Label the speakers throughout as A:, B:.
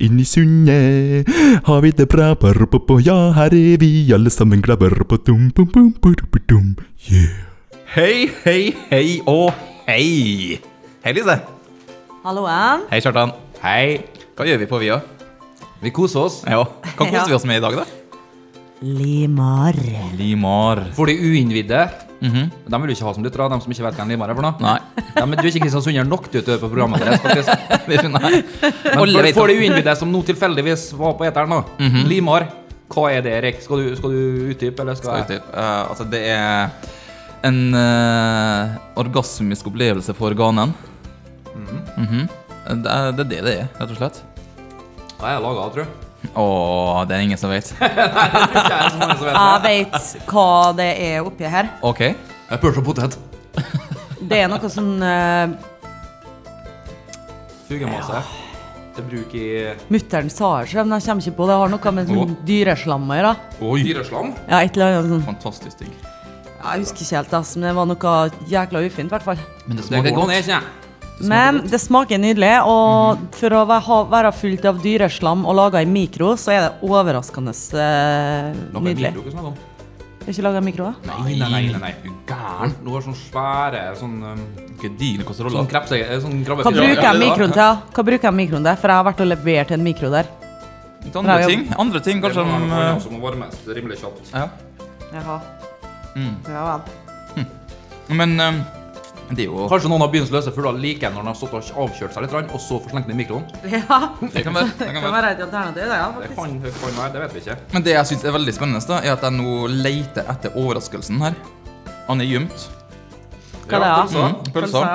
A: Inn i sundet har vi det bra. Ja, her er vi alle sammen glade. Yeah.
B: Hei, hei, hei og hei! Hei, Lise.
C: Halloen.
B: Hei, Kjartan. Hei. Hva gjør vi på, vi òg?
D: Vi koser oss.
B: Ja. Hva koser
C: Ja.
B: vi oss med i dag, da?
C: Limar.
B: Limar.
D: For de uinnvidde De vil du ikke ha som lyttere, de som ikke vet hvem Limar er for noe.
B: Nei.
D: Ja, men du er ikke kristiansunder nok til å høre på programmet deres, faktisk.
B: Nei.
D: Men
B: Alle
D: for,
B: vet om-
D: for de uinnvidde som nå tilfeldigvis var på eteren, nå. Limar. Hva er det, Erik? Skal du, skal du utdype, eller skal, jeg?
B: Aktiv. Eh, altså, det er en eh, orgasmisk opplevelse for organene. Mhm. det, er, det er det det er, rett og slett.
D: Ja, jeg laga det, tror jeg.
B: Å, det er ingen som vet.
D: Ikke jeg så mange som vet
C: Jeg
D: det.
C: vet hva det er oppi her.
B: OK.
D: Jeg pølse og potet.
C: Det er noe sånn uh,
D: Sugemasse. Til bruk i
C: Mutter'n sa det selv, men jeg kommer ikke på det. Det har noe med sånn dyreslam å gjøre.
D: Oi. dyreslam.
C: Ja, et eller annet sånn.
B: Fantastisk ting.
C: Jeg husker ikke helt, ass, men det var noe jækla ufint, i hvert fall.
B: Men det
D: Det
B: smaker
D: går
B: godt.
D: ned, ikke jeg.
C: Men det smaker nydelig, og
D: Mhm.
C: for å væ- ha- være fullt av dyreslam og laga i mikro, så er det overraskende eh, nydelig.
D: Nydelig.
C: Er ikke laga i mikro, da?
D: Nei, nei, nei, nei, nei. Du gæren. Du har sånne svære sånn um,
B: Ikke deal hvordan det
D: Sånn
B: ruller.
D: krepse... eh, Sånn
C: Hva
D: krabbefilet.
C: bruker
D: Ja,
C: jeg
D: det var-
C: mikroen til? da? Hva bruker jeg mikroen til? For jeg har vært og levert en mikro der.
B: Litt andre ting. Andre ting,
D: Det
B: kanskje. eh,
D: må være
B: om,
D: noe annet
B: eh,
D: som må varmes rimelig kjapt.
B: Ja.
C: Jaha.
B: Mm.
C: Ja vel.
B: Men eh, det er jo
D: Kanskje noen av byens løse fugler liker når de har stått og avkjølt seg litt, grann, og så får slengt den i mikroen.
C: Ja,
B: Det kan være. Det
C: det
B: kan
C: kan
B: være.
C: være et alternativ, det, ja.
D: Det
C: faktisk.
D: kan, det kan være, det vet vi ikke.
B: Men det jeg syns er veldig spennende, da, er at jeg nå leter etter overraskelsen her. Han er gjemt.
C: Hva det er?
D: pølser.
B: Mm. Pølser.
C: Pølser,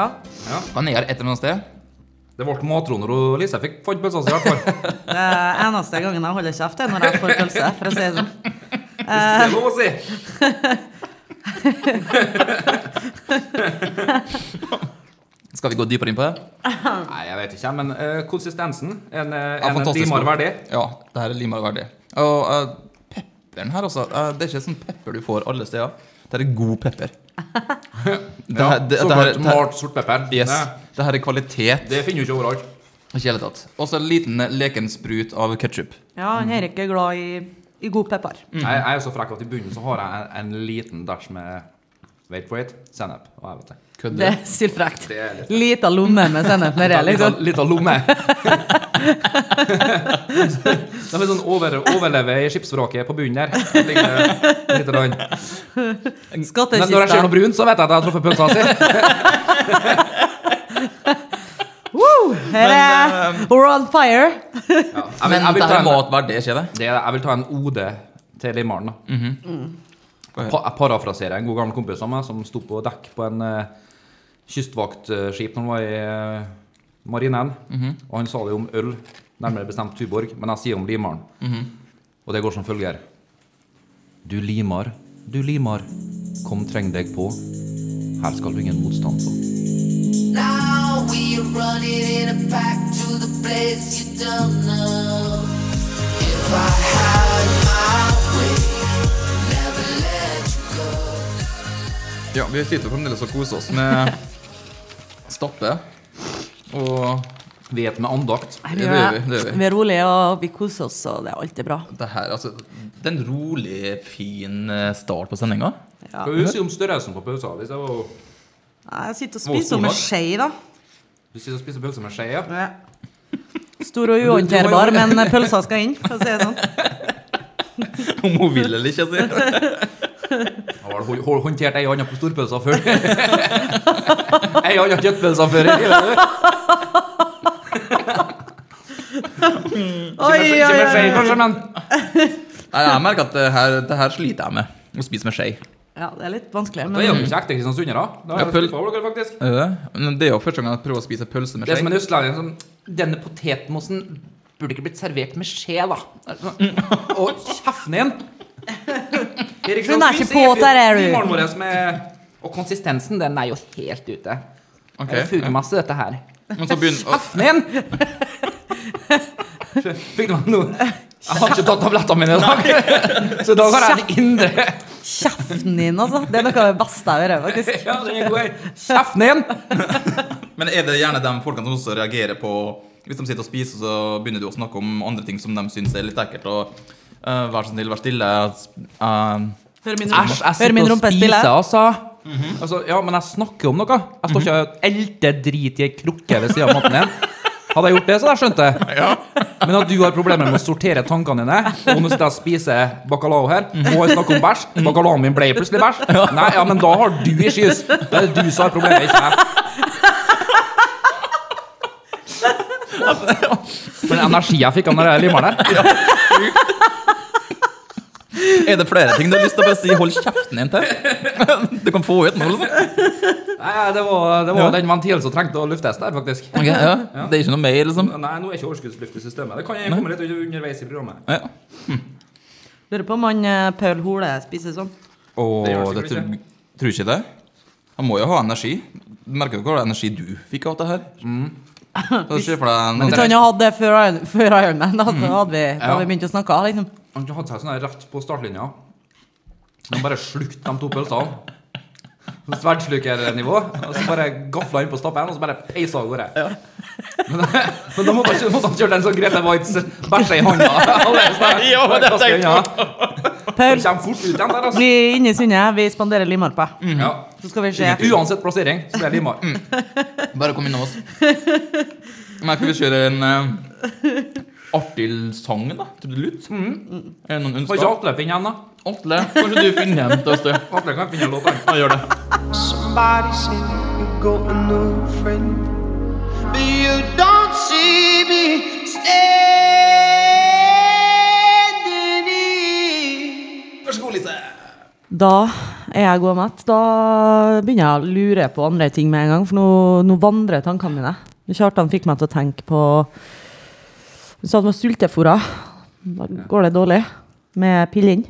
C: ja.
B: Han er her et eller annet sted.
D: Det ble matroner og Lise fikk fant pølsa si, i hvert fall.
C: Det er eneste gangen jeg holder kjeft, det er når jeg får pølse, for å si det sånn.
D: Det er lov å si.
B: Skal vi gå dypere inn på det?
D: Nei, jeg vet ikke, men eh, konsistensen en, eh,
B: Ja,
D: en
B: fantastisk.
D: dimar verdig.
B: Ja, det her er lima verdig. Og eh, pepperen her, altså. eh, det er ikke sånn pepper du får alle steder. Det her er god pepper. det, her, det, det, her, det,
D: Såkalt
B: her,
D: malt sortpepper.
B: yes,
D: Nei,
B: det her er kvalitet.
D: Det finner du ikke overalt.
B: Ikke i hele tatt. Og så en liten leken sprut av ketsjup.
C: Ja, han Erik er glad i, i god pepper.
D: Jeg, jeg er så frekk at i bunnen så har jeg en, en liten dæsj med Wait for it, sennep og jeg vet det.
C: Det er sylfrekt.
D: Det er litt-
C: Lita lomme med sennep nedi,
D: Litt
B: sånn-
C: liksom.
D: av- Litt av lomme. De er sånn over, overleve i skipsvraket på bunnen der. Det ligger Litt rann. Men når jeg ser noe
C: Skattkista.
D: brunt, så vet jeg at jeg har truffet pølsa si.
C: Woo! Her er We're on fire.
D: Ja, jeg,
B: Men
D: vil, jeg, vil
B: det
D: ta
B: her er
D: en,
B: mat verdig, ikke det?
D: det, er- jeg vil ta en OD til Limaren. da.
B: Mhm. Hva er det?
D: Pa, jeg parafraserer en god gammel kompis av meg som sto på dekk på en eh, kystvaktskip når han var i eh, marinen.
B: Mhm.
D: Og han sa det om øl, nærmere bestemt Tuborg, men jeg sier om Limaren.
B: Mhm.
D: Og det går som følger. Du limar, du limar. Kom, treng deg på. Her skal du ingen motstand på.
E: Now we are running in a pack to the place you don't know. If I had my way, never let you go.
B: Ja, vi sitter jo fremdeles og koser oss med stappe. Og
D: Vet med andakt.
B: det gjør vi. det gjør vi.
C: Vi er rolige, og vi koser oss, og det er alltid bra.
B: Det her, altså, det er en rolig, fin eh, start på sendinga.
C: Ja.
D: Hva vil du si om størrelsen på pausa? Hvis jeg var
C: Jeg
B: Hvor
C: sitter og
B: stor
C: spiser med
B: var-
C: skje, da.
D: Du sitter og spiser pølse med skje, ja?
C: Stor og uhåndterbar, men pølsa skal inn, for å si det sånn.
B: Om hun vil eller ikke, altså.
D: Har du hå- håndtert ei anna på storpølsa før? ei anna kjøttpølsa før? i livet, du?
C: Oi,
D: Ikke med skje, kanskje, men
B: Nei, Jeg merker at det her, det her sliter jeg med. Å spise med skje.
C: Ja, det er litt vanskelig,
D: Da er
C: men
D: dere ikke ekte kristiansundere. Da er
B: Ja, pøl-
D: dere skuffa over dere, faktisk.
B: Er det det? Men det er jo første gang jeg prøver å spise pølse med
D: Det er som
B: skje.
D: en østlending som Denne potetmosen burde ikke blitt servert med skje, da. Altså, Og kjeften din! Erik
C: Hun er
D: Sjansvik
C: ikke på
D: sier
C: der, er
D: i
C: du.
D: morgen morges med- Og konsistensen, den er jo helt ute.
B: Ok,
D: Det er fugemasse, dette her.
B: Men så begynner å-
D: Kjeften din! Fikk du meg nå? Jeg har ikke tatt tablettene mine i dag, så i dag har jeg en indre
C: Kjeften din, altså. Det er noe av det beste jeg hører, faktisk.
D: Ja, den er god, jeg. Kjeften din!
B: Men er det gjerne de folkene som også reagerer på Hvis de sitter og spiser, så begynner du å snakke om andre ting som de syns er litt ekkelt. Og eh, vær så snill, vær stille. eh,
C: Hør min
D: Æsj, jeg
C: Hør
D: sitter
C: min
D: og
C: rumpe
D: spiser,
C: spille.
D: altså. altså. Ja, men jeg snakker om noe. Jeg står ikke og elter drit i ei krukke ved siden av maten din. Hadde jeg gjort det, så hadde jeg skjønt det. Men at du har problemer med å sortere tankene dine, og nå sitter jeg og spiser bacalao her, og jeg snakker om bæsj Bacalaoen min ble plutselig bæsj. Nei, ja, men da har du issues. Det er du som har problemet, ikke jeg. For den energi jeg fikk av den der limeren der.
B: Er det flere ting du har lyst til å bare si 'hold kjeften din' til? Du kan få ut noe, liksom.
D: Nei, det var, det var den ventilen som trengte å luftes der, faktisk.
B: Ok, ja. Det er ikke noe mer, liksom.
D: Nei, nå er ikke overskuddsluft i systemet. Det kan jeg komme litt underveis i programmet.
B: Ja.
C: Lurer på om han eh, Paul Hole spiser sånn.
B: Og
D: Det
B: det,
D: gjør han sikkert
B: tror, tror ikke det. Han må jo ha energi. Du merker jo hva energi du fikk av det her. Så se for deg
C: Hvis
B: noen
C: han hadde hatt det før Iron- før Ironman, da
D: Mm.
C: så hadde vi, da hadde vi begynt å snakke. liksom.
D: Han hadde seg sånn her rett på startlinja. Han bare slukte de to pølsene. På Sverdsslukernivå. Og så bare gafla inn på stappen, og så bare peisa av gårde. Men, men da måtte han kjø- måtte han kjøre den sånn Grete Waitz bæsja i hånda. sånn Allerede snart. Bare kaste unna.
C: Paul,
D: Det kommer fort ut igjen der, altså.
C: vi er inne i sundet. Vi spanderer limmer på deg.
D: Ja.
C: Så skal vi se.
D: Uansett plassering, så blir det lima.
B: Bare kom innom oss. Men kan vi kjøre en eh, artig sang, da? Trudelutt? Er det noen
D: Får ikke
B: ønsker?
D: Atle finne en, da?
B: Atle, kanskje du finner en til oss? du?
D: Atle kan finne en låt, han.
B: Ja, gjør det.
F: Somebody said you got a new friend, but you don't see me standing here.
C: Da er jeg god og mett. Da begynner jeg å lure på andre ting med en gang, for nå, nå vandrer tankene mine. Kjartan fikk meg til å tenke på Du sa han var sultefòra. Da går det dårlig med pillen.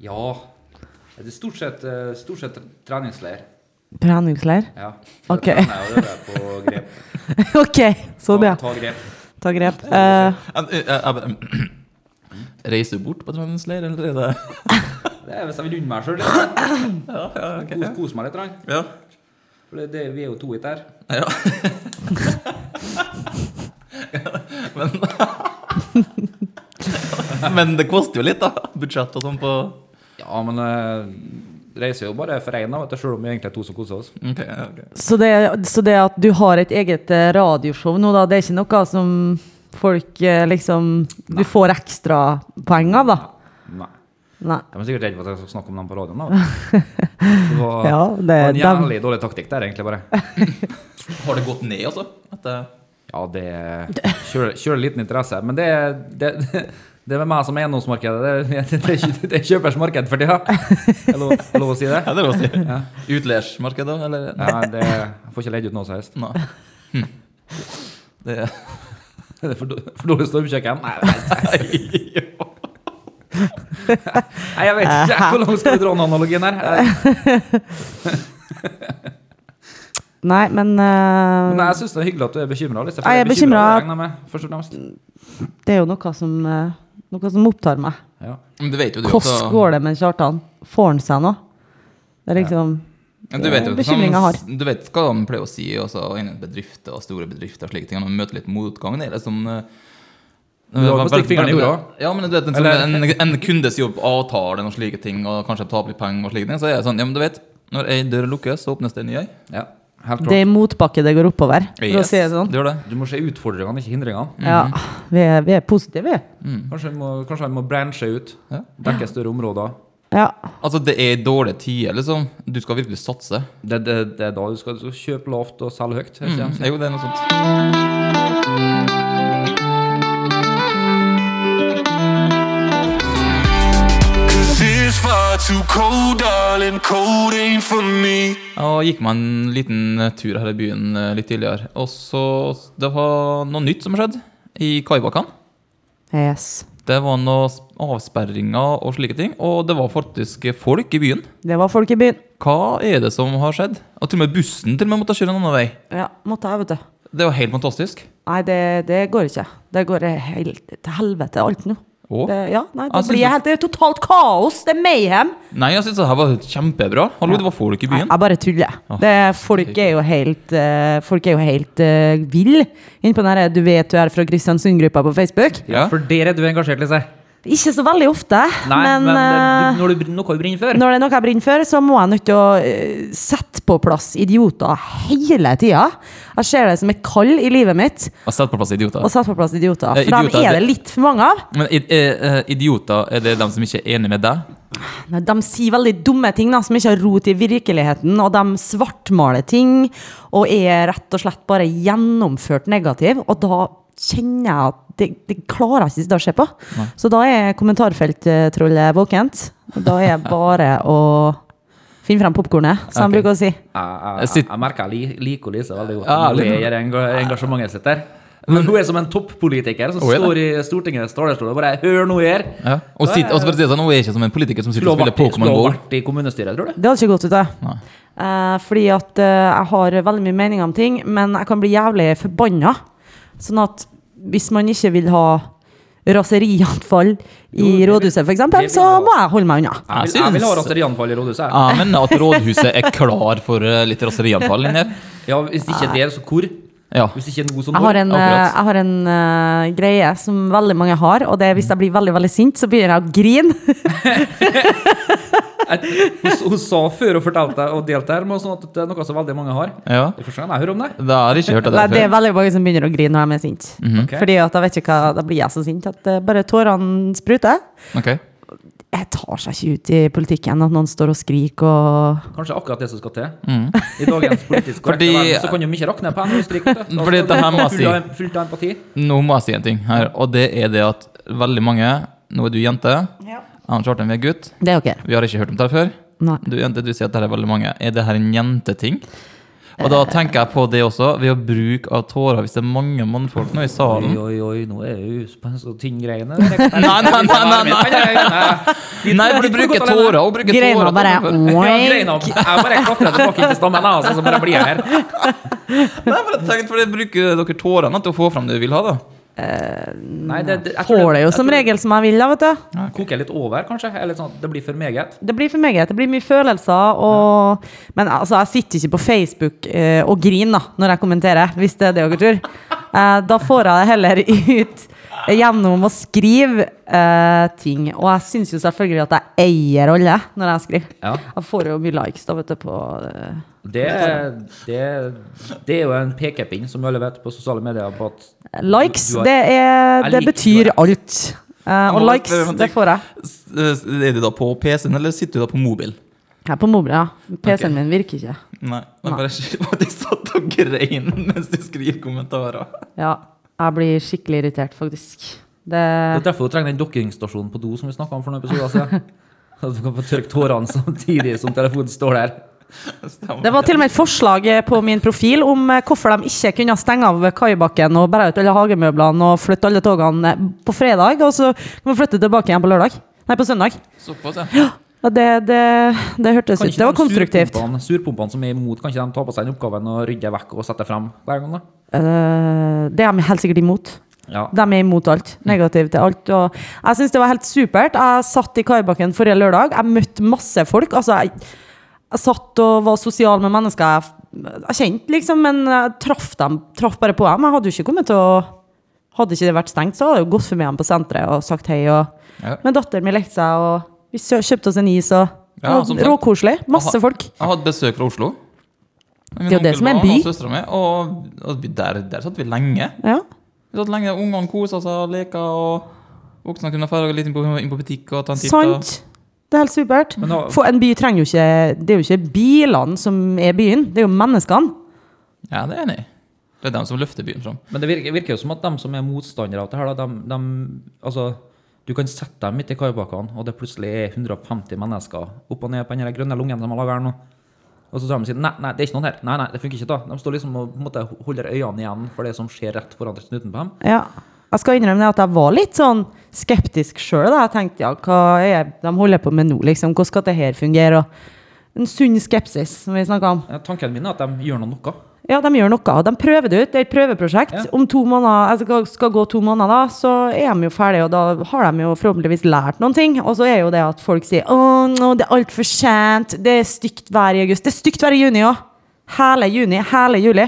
D: Ja. Det er stort sett, eh, stort sett treningsleir.
C: Treningsleir.
D: Ja.
C: Ok.
D: Det trener jeg, og det er på grep.
C: OK, sånn, ja.
D: Ta, ta grep.
C: Ta grep. Eh,
B: Eh, eh, eh, eh, Reiser du bort på treningsleir, eller er det
D: Det er hvis jeg vil unne meg sjøl litt. Kose, kose meg litt. grann.
B: Ja.
D: For det, det, vi er jo to hit der.
B: ja. Men Men det koster jo litt, da. Budsjett og sånn på
D: Ja, men eh, reiser jo bare for én, sjøl om vi egentlig er to som koser oss.
B: Ok, ja, ok.
C: så, det, så det at du har et eget eh, radioshow nå, da, det er ikke noe som folk eh, liksom Du får ekstrapoeng av, da?
D: Nei.
C: Nei.
D: De er sikkert redd for at jeg skal snakke om dem på radioen. da. Det var,
C: Ja,
D: det,
C: det,
D: var en
C: dem-
D: jævlig dårlig taktikk der, egentlig bare.
B: Har det gått ned, altså? Etter
D: Ja, det kjører, kjører liten interesse. Men det, det, det er med meg som er eiendomsmarkedet. Det, det, det, er kjø- det er kjøpers marked for tida. Er det lov- er det lov å si det?
B: Ja, det er lov å si. Utleiersmarkedet, eller?
D: Nei, det jeg får ikke leid ut noe som helst.
B: Nei. Hm. Det er
D: Det er for, dår- for dårlig stormkjøkken? Nei, nei, nei. nei, jeg vet ikke. Hvor langt skal vi dra den analogien her? Eh,
C: Nei, men, eh,
D: Men jeg syns det er hyggelig at du er bekymra.
C: Jeg er bekymret.
D: Først og fremst.
C: det er jo noe som, eh, noe som opptar meg.
D: Ja.
B: Men du vet jo du
C: Hvordan
B: også
C: går det med Kjartan? Får han seg noe? Det er liksom
B: Men du vet jo
C: Bekymringen
B: som-
C: har.
B: Du vet hva de pleier å si også innen bedrifter og store bedrifter og slike ting. Når man møter litt motgang, det er det som eh,
D: har på stikk fingeren i jorda.
B: Ja, men du vet, en,
D: Eller-
B: en, en kundes jobb, avtalen og slike ting, og kanskje de taper litt penger og slike ting, så er det sånn Ja, men du vet, når ei dør lukkes, så åpnes det en ny ei.
D: ja. Helt
C: Det
D: klart.
C: er i motbakke det går oppover, for å
B: Yes,
C: si det sånn.
B: Det gjør det.
D: Du må se utfordringene, ikke hindringene.
C: Ja, vi er, vi er positive, vi.
D: Kanskje vi må, kanskje vi må branche ut.
B: Mm. Ja.
D: Dekke større områder.
C: Ja.
B: Altså, det er dårlige tider, liksom. Du skal virkelig satse.
D: Det, det, det er da du skal du skal kjøpe lavt og selge høyt. er ikke det?
B: Mm, Jo, det er noe sånt.
G: Cause it's er far too cold, darling. Cold ain't for me.
B: Og gikk meg en liten tur her i byen eh, litt tidligere. Og så Det var noe nytt som skjedde i Kaibakan.
C: Yes.
B: Det var noe s- avsperringer og slike ting. Og det var faktisk folk i byen.
C: Det var folk i byen.
B: Hva er det som har skjedd? Og til og med bussen til og med måtte kjøre en annen vei.
C: Ja, måtte jeg, vet du.
B: Det var helt fantastisk.
C: Nei, det, det går ikke. Det går helt til helvete, alt nå.
B: Å?
C: Det, ja, nei, det,
B: Jeg synes
C: blir
B: det-
C: helt, det er totalt kaos! Det er mayhem!
B: Nei, jeg syns det her var kjempebra. Hallo, det var folk i
C: Nei,
B: byen.
C: jeg bare tuller.
B: Åh,
C: Det, folk er jo helt uh, Folk er jo helt uh, vill inne på den her 'du vet du er fra Kristiansund'-gruppa på Facebook.
B: Ja.
D: For der er du engasjert, Lise.
C: Ikke så veldig ofte,
D: Nei, men,
C: men,
D: eh,
C: eh,
D: du, når du, br- noe du brenner for.
C: når det er noe jeg brenner for, så må jeg nødt til å eh, sette på plass idioter hele tida. Jeg ser det som et kall i livet mitt
B: Jeg setter på plass idioter.
C: å sette på plass idioter.
B: Eh,
C: For dem
B: idioter,
C: er det
B: det-
C: litt for mange av.
B: Men i- eh, eh, idioter, er det dem som ikke er enig med deg?
C: Nei, De sier veldig dumme ting da, som ikke har rot i virkeligheten, og de svartmaler ting og er rett og slett bare gjennomført negativ, og da kjenner jeg at det, det klarer jeg ikke sitte og se på. Så da er kommentarfelttrollet våkent. Da er det bare å finne frem popkornet, som han
B: Ok.
C: bruker å si.
D: Jeg,
B: Jeg
D: jeg,
B: sitt-
D: jeg, jeg merker jeg li- liker Lise veldig godt.
B: Ja,
D: Hun
B: litt.
D: er enga- engasjementet sitt der. Men hun er som en toppolitiker som
B: Hun er det.
D: står i Stortingets talerstol og bare 'Hør nå her!'
B: Ja. Og, sitt, og så bare si sånn, hun er ikke som en politiker som sitter
D: Skulle
B: og
D: ha
B: spiller
D: vært, i-
B: Pokémon
D: skulle
B: Go.
D: ha vært i kommunestyret, tror du?
C: Det hadde ikke gått ut, det.
B: Nei.
C: Eh, fordi at eh, jeg har veldig mye meninger om ting, men jeg kan bli jævlig forbanna. Sånn at hvis man ikke vil ha raserianfall i rådhuset,
D: det vil
C: f.eks., så
D: jeg ha.
C: må jeg holde meg unna.
D: Jeg, vil- jeg vil ha raserianfall i rådhuset. jeg.
B: Jeg mener at rådhuset er klar for eh, litt raserianfall inni her.
D: Ja, Hvis ikke der, så hvor?
B: Ja.
D: Hvis ikke noe som
C: Jeg har en, eh,
B: Akkurat.
C: jeg har en eh, greie som veldig mange har, og det er hvis jeg blir veldig veldig sint, så begynner jeg å grine. eh,
D: hun, hun sa før hun fortalte og delte her, men sånn at det er noe som veldig mange har.
B: Ja.
D: Det er første gang jeg hører om det.
B: Da har jeg ikke hørt det
C: Nei,
B: der
C: det
B: før.
C: er veldig mange som begynner å grine når de er sint.
D: Ok.
C: Fordi at jeg vet ikke hva, Da blir jeg så sint at eh, bare tårene spruter.
B: Ok.
C: Jeg tar seg ikke ut i politikken at noen står og skriker og
D: Kanskje akkurat det som skal til. I dagens politisk korrekte
B: Mm. Fordi-
D: verden så kan de ikke rakne på en og stryke. vet du.
B: Fordi
D: Da skal
B: det her
D: du
B: må
D: være
B: jeg
D: full av- Fullt av empati.
B: Nå må jeg si en ting her, og det er det at veldig mange Nå er du jente. Jeg og Kjartan, vi er gutt.
C: Det er ok.
B: Vi har ikke hørt om det her før.
C: Nei.
B: Du, jente, du sier at det er veldig mange. Er det her en jenteting? Og
C: Eh.
B: da tenker jeg på det også, ved å bruke av tårer hvis det er mange mannfolk nå i
D: Oi,
B: salen.
D: oi, oi, nå er jeg jo på en så tynn greie. Nei,
B: Nei, nei, nei, nei, nei. Nei, for du bruker tårer. og bruker
C: Greina
B: tårer
C: bare
B: utenfor.
D: Ja,
C: oink.
D: greina. Jeg bare klatrer tilbake inn til stammen, jeg, altså, så bare blir jeg her.
B: Nei, for jeg tenkte, for det bruker dere tårene til å få fram det du vil ha, da.
D: Nei, det, det, jeg tror
C: Får det jo
D: jeg
C: som
D: tror
C: regel som jeg vil, da, vet du.
D: det koker litt over, kanskje. Eller sånn at det blir for meget.
C: Det blir for meget. Det blir mye følelser og Men altså, jeg sitter ikke på Facebook eh, og griner da, når jeg kommenterer, hvis det er det dere tror. Eh, da får jeg det heller ut gjennom å skrive eh, ting. Og jeg syns jo selvfølgelig at jeg eier alle når jeg skriver.
D: Ja.
C: Jeg får jo mye likes da, vet du, på eh,
D: Det, det, det er jo en pekepinn, som vi alle vet, på sosiale medier på at
C: Likes,
D: Du har-
C: det, er,
D: Jeg
C: det
D: liker-
C: betyr
D: du har-
C: alt. Eh, og
B: må bare
C: likes,
B: spørre om en
C: det
B: ting.
C: får jeg.
B: S- eh, Er du da på PC-en, eller sitter du da på mobil?
C: Jeg er på mobila. PC-en min virker ikke.
B: Nei.
C: Nei.
B: Jeg bare faktisk satt og grein mens du skriver kommentarer.
C: Ja, jeg blir skikkelig irritert, faktisk. Det,
D: Det er derfor hun trenger den dokkingstasjonen på do som vi snakka om for noen episoder siden. At du kan få tørke tårene samtidig som telefonen står der.
C: det var til og med et forslag eh, på min profil om eh, hvorfor de ikke kunne stenge av kaibakken og bære ut alle hagemøblene og flytte alle togene eh, på fredag, og så kan vi flytte tilbake igjen på lørdag. Nei, på søndag.
B: Såpass, ja.
C: Ja, Det, det, det hørtes ut Det var konstruktivt.
D: Surpumpene, surpumpene som er imot, kan ikke de ta på seg den oppgaven og rydde vekk og sette frem hver gang, da?
C: Eh, det er de helt sikkert imot.
D: Ja.
C: De er imot alt. Negative til alt. Og jeg syns det var helt supert. Jeg satt i Kaibakken forrige lørdag. Jeg møtte masse folk. Altså, jeg, jeg satt og var sosial med mennesker jeg, f- jeg kjente, liksom, men jeg traff dem. Traff bare på dem. Jeg hadde jo ikke kommet til å Hadde ikke det vært stengt, så hadde jeg jo gått forbi dem på senteret og sagt hei. Og,
B: Ja.
C: Men datteren min lekte seg, og vi sø- kjøpte oss en is, og
B: Ja,
C: og
B: som sagt.
C: Råkoselig. Masse
B: Aha.
C: folk.
B: Jeg hadde besøk fra Oslo. Min
C: Det er jo det
B: onkel
C: som er en
B: var med,
C: by.
B: Og, søsteren min, og, og vi- der, der satt vi lenge.
C: Ja.
B: Vi satt lenge, Ungene kosa seg og leka. Og voksne kunne dra litt inn på, inn på butikk og ta en titt. og-
C: Sant. Det er helt supert.
D: Men da,
C: For en by trenger jo ikke Det er jo ikke bilene som er byen, det er jo menneskene.
B: Ja, det er jeg enig i. Det er dem som løfter byen fram.
D: men det virker, virker jo som at de som er motstandere av det her, da, de, de Altså, du kan sette dem midt i kaibakkene, og det plutselig er 150 mennesker opp og ned på den her grønne lungen som de har laget her nå. Og så tar de og sier nei, nei, det er ikke noen her. Nei, nei, det funker ikke da. De står liksom og på en måte, holder øynene igjen for det som skjer rett foran snuten på dem.
C: Ja. Jeg skal innrømme det at jeg var litt sånn skeptisk sjøl. Jeg tenkte ja, hva er det de holder på med nå, liksom? Hvordan skal det her fungere? Og en sunn skepsis, som vi snakka om.
D: Eh, Ja, Tanken min er at de gjør noe noe.
C: Ja, de gjør noe. De prøver det ut. Det er et prøveprosjekt.
D: Ja.
C: Om to måneder, jeg skal, skal gå to måneder, da, så er de jo ferdige, og da har de jo forhåpentligvis lært noen ting. Og så er jo det at folk sier å, nå, det er altfor sent, det er stygt vær i august. Det er stygt vær i juni òg. Hele juni, hele juli.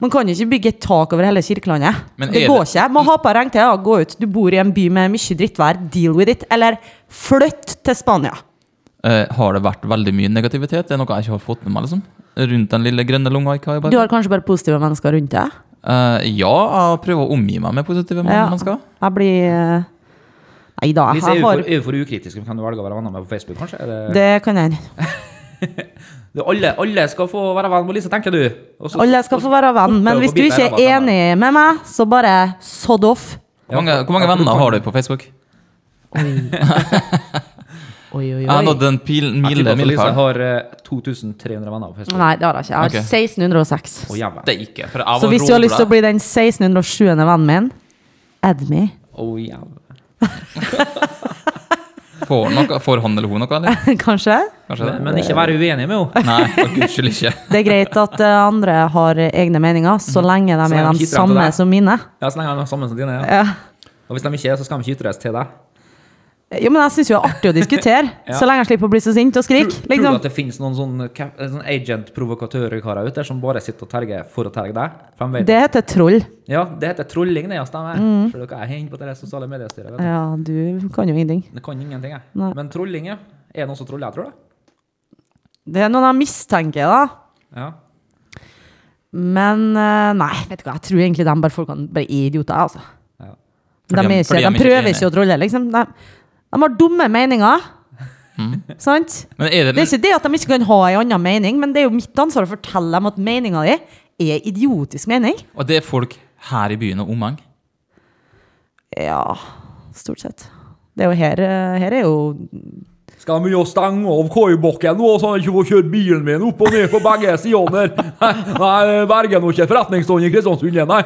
C: Man kan jo ikke bygge et tak over hele Kirkelandet.
B: Men
C: Det
B: er
C: går
B: det-
C: ikke. Man har på regntøy og gå ut. Du bor i en by med mye drittvær. Deal with it. Eller flytt til Spania.
B: Eh, har det vært veldig mye negativitet? Det er noe jeg ikke har fått med meg, liksom? Rundt den lille grønne lunga i Kaibar?
C: Du har kanskje bare positive mennesker rundt deg?
B: Eh, ja, jeg prøver å omgi meg med positive
C: Ja.
B: mennesker.
C: Jeg blir eh, Nei da,
D: Hvis jeg
C: jeg
D: er
C: har
D: for, er for ukritisk, kan du velge å være venner med på Facebook, kanskje? Er det,
C: Det kan hende.
D: det, alle, alle skal få være venn med Lise, tenker du? Og så-
C: Alle skal få være venn, men
D: Oppe
C: hvis
D: på
C: du ikke
D: biten her,
C: er
D: da, bare.
C: enig med meg, så bare sodd off.
B: Hvor mange, hvor mange venner har du på Facebook?
C: Oi, oi,
B: Jeg har nådd en pil,
D: Jeg tipper
B: milde
D: at Lise
B: milepæl.
D: har eh, 2300 venner på Facebook.
C: Nei, det har jeg ikke. Jeg har
B: Ok.
C: 1606.
D: Å, jævla.
B: Steike. for jeg var
C: Så hvis du har lyst til å
B: råblæ.
C: bli den 1607. vennen min, add me.
D: Å, jævla.
B: Får, noe, får han eller hun noe, eller?
C: Kanskje?
B: Kanskje det?
D: Men ikke være uenig med henne.
B: Nei, for guds skyld ikke.
C: Det er greit at eh, andre har egne meninger, så
D: Mhm.
C: lenge de
D: lenge
C: er
D: de
C: de
D: ikke drar til
C: samme
D: deg.
C: som mine.
D: Ja, så lenge han er sammen som dine. Ja.
C: Ja.
D: Og hvis de ikke er, så skal de ikke ytres til deg.
C: Jo, men jeg syns jo det er artig å diskutere,
D: Ja.
C: så lenge jeg slipper å bli så sint og
D: Tror,
C: skrike.
D: tror du
C: Liksom.
D: at det finnes noen sånne, cap- eh, sånne agent-provokatører-karer ute der som bare sitter og terger for å terge deg? For de vet.
C: Det heter troll.
D: Ja, det heter trolling, det, ja, stemmer. For dere er henne på det sosiale mediestyret. vet du.
C: Ja, du kan jo ingenting.
D: Det kan ingenting, jeg.
C: Nei.
D: Men trolling, ja. Er det noen som troller? Jeg tror det.
C: Det er noen jeg mistenker, da.
D: Ja.
C: Men eh, nei, vet du hva, jeg tror egentlig de bare folkene bare er idioter, altså.
D: Ja.
C: De,
B: Fordi de-
C: er ikke,
B: fordi de
C: de,
B: ikke er
C: prøver
B: enige.
C: ikke å trolle, liksom. De, de har dumme meninger.
B: Mm.
C: Sant?
B: Men er
C: Det
B: det,
C: er ikke det at de ikke kan ha en annen mening, men det er jo mitt ansvar å fortelle dem at meninga di er idiotisk mening.
B: og det er folk her i byen og omheng?
C: Ja, stort sett. Det er jo her, eh, her er jo
D: Skal de jo stenge av koibakken nå, så han ikke får kjøre bilen min opp og ned på begge sidene her? Nei, Nei, berger nå ikke forretningsstående i Kristiansund igjen, nei.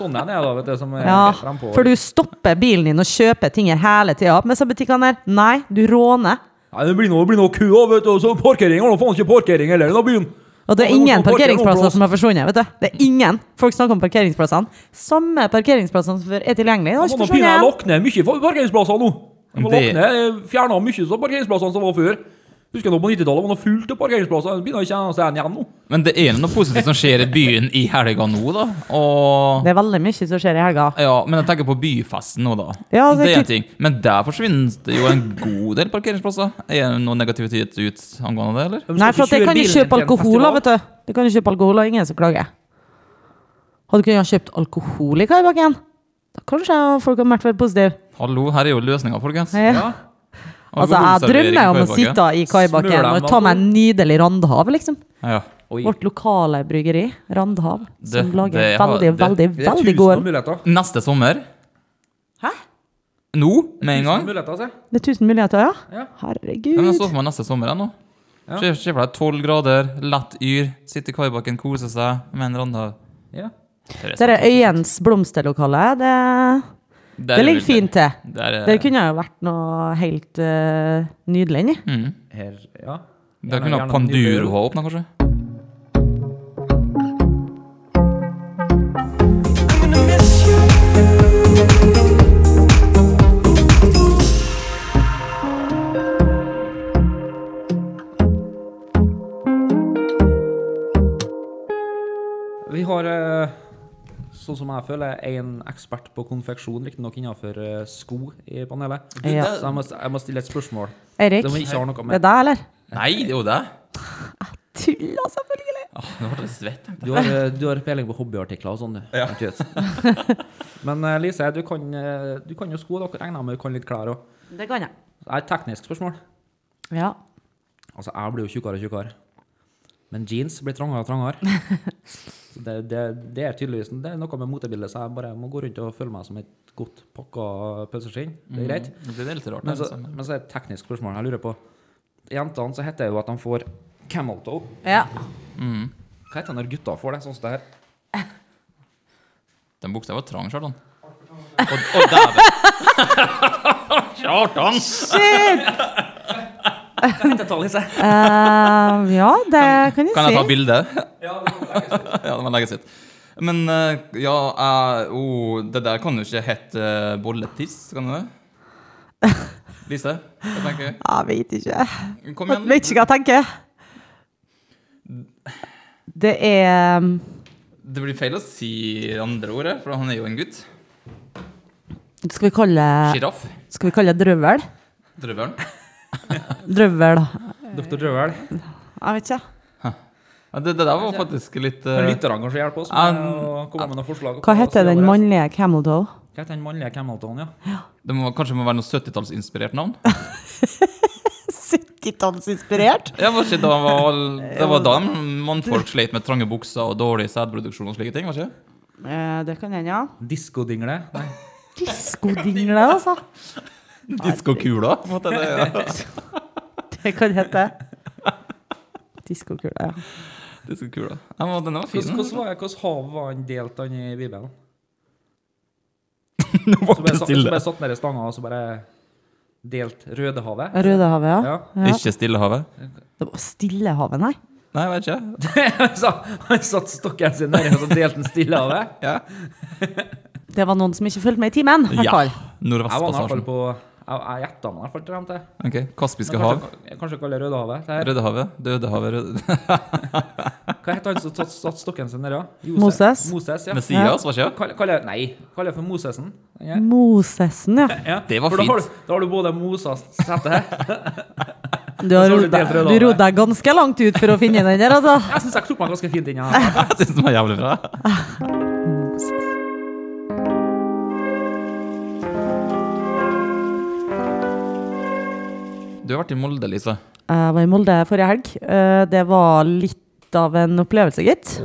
D: Sånn er det, da, vet du, som er
C: Ja,
D: frem på.
C: for du stopper bilen din og kjøper ting her hele tida. Men så butikkene der, nei, du råner.
D: Nei, det blir noe, det blir noe kø, da, vet du. og Så parkering har nå faen ikke parkering heller i denne byen.
C: Og det er
D: Ja, men
C: ingen
D: hvorfor parkerer noen
C: parkeringsplasser
D: plass?
C: som har forsvunnet. vet du. Det er ingen. Folk snakker om parkeringsplassene. Samme parkeringsplassene som før er tilgjengelige. Det har
D: Man
C: ikke
D: har pinadø
C: forsvunnet.
D: lagt ned mye for- parkeringsplasser nå. Man har
B: Det-
D: lagt ned, fjerna mye av parkeringsplassene som var før. Husker nå på 90-tallet, man har fullt av parkeringsplasser. Det begynner ikke å se en igjen nå.
B: Men det er jo noe positivt som skjer i byen i helga nå, da. Og
C: Det er veldig mye som skjer i helga.
B: ja, men jeg tenker på byfesten nå, da.
C: Ja, altså,
B: det er
C: det er
B: en
C: kult.
B: ting. Men der forsvinner det jo en god del parkeringsplasser. Er det noe negativitet ut angående det, eller?
C: Nei, for at jeg kan jo kjøpe alkohol, da, vet du. Jeg kan jo kjøpe alkohol, og ingen som klager. Hadde du kunnet ha kjøpt alkohol i Kaibakken? Da kanskje folk hadde vært veldig positive.
B: Hallo, her er jo løsninga, folkens.
C: Ja.
D: Ja.
C: Altså, jeg
B: Alkoholservering i
C: drømmer om å
B: Kaibakken.
C: sitte i Kaibakken
D: Smører dem
C: og ta meg en nydelig Randhav, liksom.
B: Ja.
D: Oi.
C: Vårt lokale bryggeri, Randhav, som
B: Det-
C: lager
B: det har-
C: veldig,
B: det-
C: veldig,
D: Det er
C: veldig
D: tusen
C: god
D: av muligheter.
B: Neste sommer
C: Hæ?
B: Nå, med en
D: Tusen av
B: gang.
D: muligheter, se.
C: Det er tusen muligheter, ja?
D: Ja.
B: Ja, men jeg
C: Herregud.
B: så for meg neste sommer jeg, nå. Se se for deg tolv grader, lett yr, sitte i kaibakken, kose seg med en Randhav.
D: Ja.
C: Det er Øyens blomsterlokale. Det,
B: Der
C: det
B: er
C: ligger
B: vel-
C: fint til.
B: Der er,
C: Det kunne jo vært noe helt eh, nydelig inni.
B: Mm.
D: Her, ja.
B: der
D: Gjerne-
B: kunne
D: gjerne
B: Panduro
D: nydeler.
B: ha åpna, kanskje.
D: Vi har, eh, sånn som jeg føler, en ekspert på konfeksjon, riktignok innenfor eh, sko i panelet.
C: Ja.
D: Så jeg må, jeg må stille et spørsmål.
C: Erik,
D: Det må ikke ha noe
C: det
D: med
C: er deg, eller?
B: Nei, det er jo det.
C: Tulla, selvfølgelig.
B: Åh, nå ble jeg svett. tenkte jeg.
D: Du har, eh, du har peiling på hobbyartikler og sånn, du. Ikke vet. Men eh, Lise, du kan, eh, du kan jo sko. Dere regner med du kan litt klær òg.
C: Det kan jeg.
D: Det er et teknisk spørsmål.
C: Ja.
D: Altså, jeg blir jo tjukkere og tjukkere. Men jeans blir trangere og trangere. Så det, det, det er tydeligvis det er noe med motebildet, så jeg bare må gå rundt og føle meg som et godt pakka pølseskinn. Det er greit.
B: Mm. Det er litt rart.
D: Men så,
B: altså.
D: men så er det et teknisk spørsmål jeg lurer på. Jentene så heter det jo at de får camel toe.
C: ja.
D: Hva heter det når gutta får det? Sånn som det her.
B: Den buksa var trang, Kjartan. Og, og dæven! Kjartan!
D: Dette tar Lise.
C: Eh, ja, det kan jeg,
B: Kan jeg ta
C: si.
B: bilde? ja, det må legges ut. Men eh, ja, jeg- oh, det der kan jo ikke hete eh, bolletiss, kan det det? Lise, hva tenker du?
C: Jeg vet ikke.
B: Kom
C: Jeg
B: igjen.
C: vet ikke hva jeg tenker. Det er um, Det
B: Det blir feil å si andre ordet, for han er jo en gutt.
C: Skal vi kalle
B: Sjiraff.
C: Skal vi kalle det drøvel?
B: Drøvelen.
C: Drøvel, da.
D: Doktor Drøvel.
C: eh, Jeg vet ikke.
B: Ja, det, det der var faktisk litt
D: Kan
B: eh,
D: lytterne kanskje hjelpe oss
B: Ja,
D: med å komme med noen forslag?
C: um, Hva heter den
D: mannlige?
C: mannlige camel toe?
D: Hva heter den mannlige Camelton, ja?
B: Det må, kanskje må være noe 70-tallsinspirert navn?
C: 70-tallsinspirert?
B: Ja, var ikke da var, Det var da mannfolk slet med trange bukser og dårlig sædproduksjon og slike ting? var ikke? det?
C: Eh, det kan hende, ja.
D: Diskodingle? Nei.
C: Diskodingle, altså.
B: Diskokula? på en måte, det, ja.
C: Det kan hete. Diskokule, ja.
B: Diskokula. Ja, men den var fin.
D: Hvordan
B: den.
D: hvordan var- hvordan hav var han delt han i Bibelen?
B: Nå
D: Så
B: ble
D: bare,
B: det
D: satt- så
B: stille.
D: bare satt ned i stanga og så bare delt Rødehavet?
C: Rødehavet, ja.
D: Ja.
C: ja.
B: Ikke Stillehavet?
C: Det var Stillehavet, nei.
B: Nei, jeg vet ikke.
D: Så Han satt stokken sin nedi og så delte han Stillehavet?
C: Det var noen som ikke fulgte med i timen. i hvert
B: Ja.
C: fall.
D: Jeg var i hvert fall
B: Nordvestpassasjen.
D: på Jeg, jeg gjetta meg i hvert fall til dem til.
B: Ok, Kaspiske
D: Men
B: hav.
D: Kanskje, jeg kanskje kaller det Rødehavet. Det her.
B: Rødehavet. Dødehavet. Røde...
D: Hva heter han som satt- satt stokken sin nedi? Josef-
C: Moses.
D: Moses ja.
B: Messias, var ikke det?
D: Kall- kaller- nei, kaller det for Mosesen. Den her.
C: Mosesen, ja.
D: Ja.
B: Det var
D: for da har
B: fint.
D: du- Da har du både Moses sette her.
C: Du har
D: så har du
C: rodd deg,
D: delt Rødehavet.
C: du rodde deg ganske langt ut for å finne den der, altså.
D: Jeg syns jeg tok meg ganske fint inn i den.
B: Jeg synes den var jævlig bra. Du har vært i Molde, Lise.
C: Jeg var i Molde forrige helg. Eh, Det var litt av en opplevelse, gitt.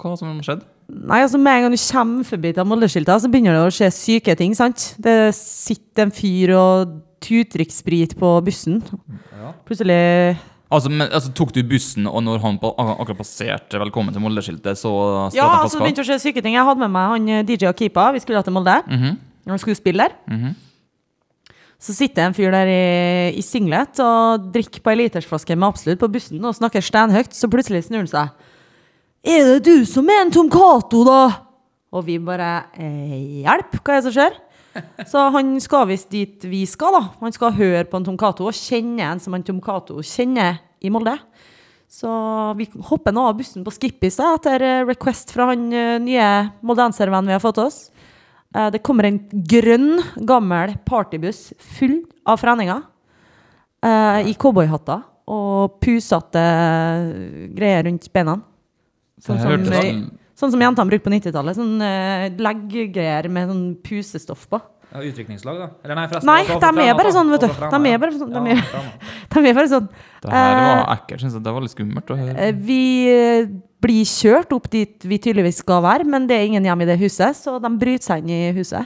B: Hva som har skjedd?
C: Nei, altså Med en gang du kommer forbi til Molde-skilta, så begynner det å skje syke ting. sant? Det sitter en fyr og tutrikksprit på bussen. Plutselig
B: Altså, men, altså, tok du bussen, og når han på, ak- akkurat passerte 'Velkommen til Molde'-skiltet, så støtte
C: Ja,
B: han
C: altså
B: flaska?
C: det begynte å skje syke ting. Jeg hadde med meg han eh, DJ Akipa. Vi skulle dra til Molde. Han skulle spille der. Så sitter en fyr der i, i singlet og drikker på ei litersflaske med Absolutt på bussen og snakker steinhøyt, så plutselig snur han seg. Er det du som er en Tom Cato, da? Og vi bare eh, Hjelp, hva er det som skjer? Så han skal visst dit vi skal, da. Han skal høre på en Tom Cato og kjenne en som en Tom Cato kjenner i Molde. Så vi hopper nå av bussen på Skippis da, etter eh, request fra han eh, nye moldenservennen vi har fått oss. Eh, Det kommer en grønn, gammel partybuss full av freninger eh, i cowboyhatter og pusete eh, greier rundt beina. Sånn
B: Det
C: som,
B: hørtes
C: eh,
B: sånn-
C: sånn som jentene brukte på 90-tallet. Sånn eh, legggreier med sånn pusestoff på.
D: Ja, Utrykningslag, da? Eller nei, forresten.
C: Nei,
D: det var
C: de er
D: trener,
C: bare
D: da.
C: sånn, vet du.
D: Det
C: De
D: var trener,
C: er bare sånn,
D: ja.
C: de er-
D: Ja, trener.
C: De er bare sånn
B: Det her var ekkelt. Synes jeg. Det var litt skummelt. å høre.
C: Eh, Vi eh, blir kjørt opp dit vi tydeligvis skal være, men det er ingen hjemme i det huset, så de bryter seg inn i huset.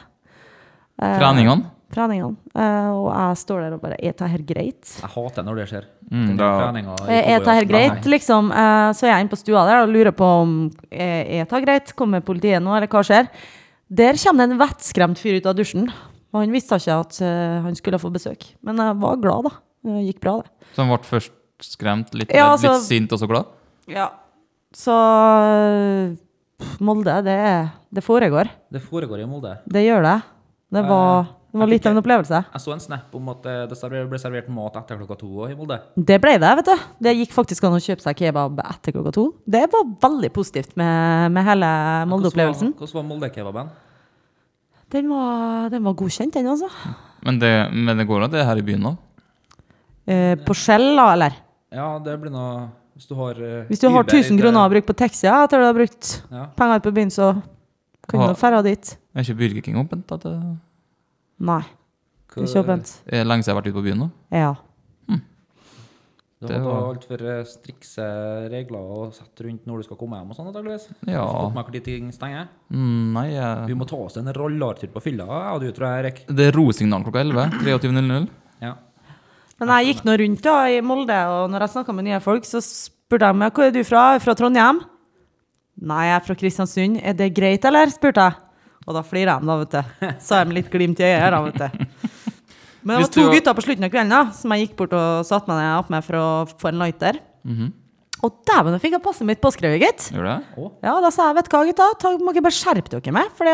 C: Eh,
B: Treningene?
C: treningene. Eh, og jeg står der og bare Er det her greit?
D: Jeg hater når det skjer.
B: Mm,
D: Den
B: da-
D: treninga i
C: Eh, Er det her
D: cowboyhatt.
C: greit, liksom? Eh, så er jeg inne på stua der og lurer på om eh, Er det her greit? Kommer politiet nå, eller hva skjer? Der kommer det en vettskremt fyr ut av dusjen. Og han visste ikke at eh, han skulle få besøk. Men jeg var glad, da. Det gikk bra, det.
B: Så han ble først skremt, litt,
C: Ja,
B: redd,
C: altså-
B: litt sint og så glad?
C: Ja. Så pff, Molde, det, er- det foregår.
D: Det foregår i Molde.
C: Det gjør det. Det var, det var litt av en opplevelse.
D: Jeg så en snap om at eh, det server- ble servert mat etter klokka to også i Molde.
C: Det ble det, vet du. Det gikk faktisk an å kjøpe seg kebab etter klokka to. Det var veldig positivt med, med hele Molde-opplevelsen.
D: Hvordan var- Hvordan var Molde-kebaben?
C: Den, var- den var godkjent, den, altså.
B: Men det, men det går an, det er her i byen nå?
C: Eh, på Shell, da, eller?
D: Ja, det blir noe Hvis du har eh,
C: Hvis du har
D: Uber i
C: 1000
D: det-
C: kroner å bruke på taxi ja, etter du har brukt
D: Ja.
C: penger på byen, så kan
B: Ha-
C: du dra dit.
B: Er ikke Burger King åpent? da? Det
C: Nei, det er ikke åpent.
B: er lenge siden jeg har vært ute på byen nå.
C: Ja.
D: Du
B: Det
D: har da
B: var-
D: altfor eh, strikse regler å sette rundt når du skal komme hjem og sånn, antakeligvis.
B: Ja.
D: Har du Fått med hvor de ting stenger.
B: Mm, nei,
D: Vi
B: jeg...
D: må ta oss en rallartur på fylla, jeg og du, tror jeg, Erik.
B: Det er rosignal klokka 11. 23.00.
D: Ja.
C: Men jeg gikk nå rundt da i Molde, og når jeg snakka med nye folk, så spurte jeg meg hvor er du fra? Er du Fra Trondheim? Nei, jeg er fra Kristiansund. Er det greit, eller? spurte jeg. Og da flirer de, da, vet du. Sa jeg med litt glimt i øyet, da, vet du. Men det
B: Hvis
C: var to
B: du- Mhm.
C: gutter på slutten av kvelden da, som jeg gikk bort og satte meg ned opp med for å få en lighter. Å, dæven, nå fikk jeg passet mitt påskrevet, gitt.
B: Gjør det?
C: Ja, da sa jeg, vet du hva, gutta, ta, må ikke bare skjerpe dere med. For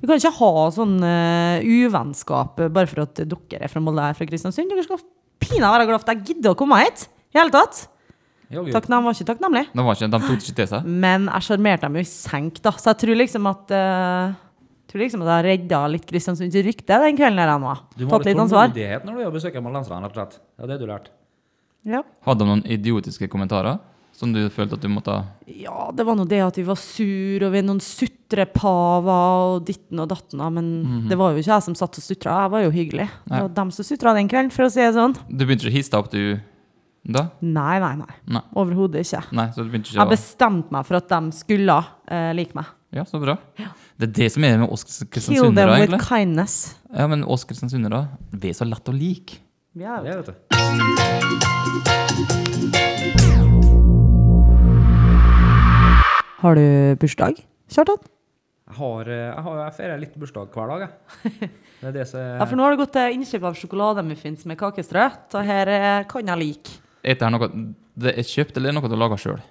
C: vi kan ikke ha sånn eh, uvennskap eh, bare for at dere er fra Molde jeg er fra Kristiansund. Dere skal pinadø være glad for at jeg gidder å komme hit. I hele tatt.
D: Ja, gud.
C: Takknem var ikke takknemlig.
B: De, var ikke, de tok det ikke til seg?
C: Men jeg sjarmerte dem jo i senk, da. Så jeg tror liksom at eh, Tror liksom at jeg redda litt Kristiansunds rykte den kvelden der jeg var.
D: Du må ha
C: Tatt
D: litt
C: litt ansvar.
D: tålmodighet når du er og besøker malenserne, rett og slett. Ja, det har du lært.
C: Ja.
B: Hadde de noen idiotiske kommentarer som du følte at du måtte
C: Ja, det var nå det at vi var sur, og vi er noen sutrepaver og ditten og datten, da, men det var jo ikke jeg som satt og sutra, jeg var jo hyggelig. Det var dem som sutra den kvelden, for å si det sånn.
B: Du begynte ikke å hisse deg opp, du? Da?
C: Nei, nei, nei.
B: Nei.
C: Overhodet ikke.
B: Nei, så du begynte ikke
C: Jeg
B: å
C: bestemte meg for at de skulle eh, like meg.
B: Ja, så bra. Det er det som er med oss
C: Kill them
B: kristiansundere,
C: with
B: egentlig.
C: kindness.
B: Ja, men oss kristiansundere, vi er så lett å like.
C: Ja,
D: Det vet du.
C: Har du bursdag, Kjartan?
D: Jeg har, eh, jeg har jeg feirer litt bursdag hver dag, jeg. Det er det som
C: Ja, for nå har det gått til innkjøp av sjokolademuffins med kakestrø, så her eh, kan jeg like.
B: Er dette her noe det er kjøpt, eller er det noe du har laga sjøl?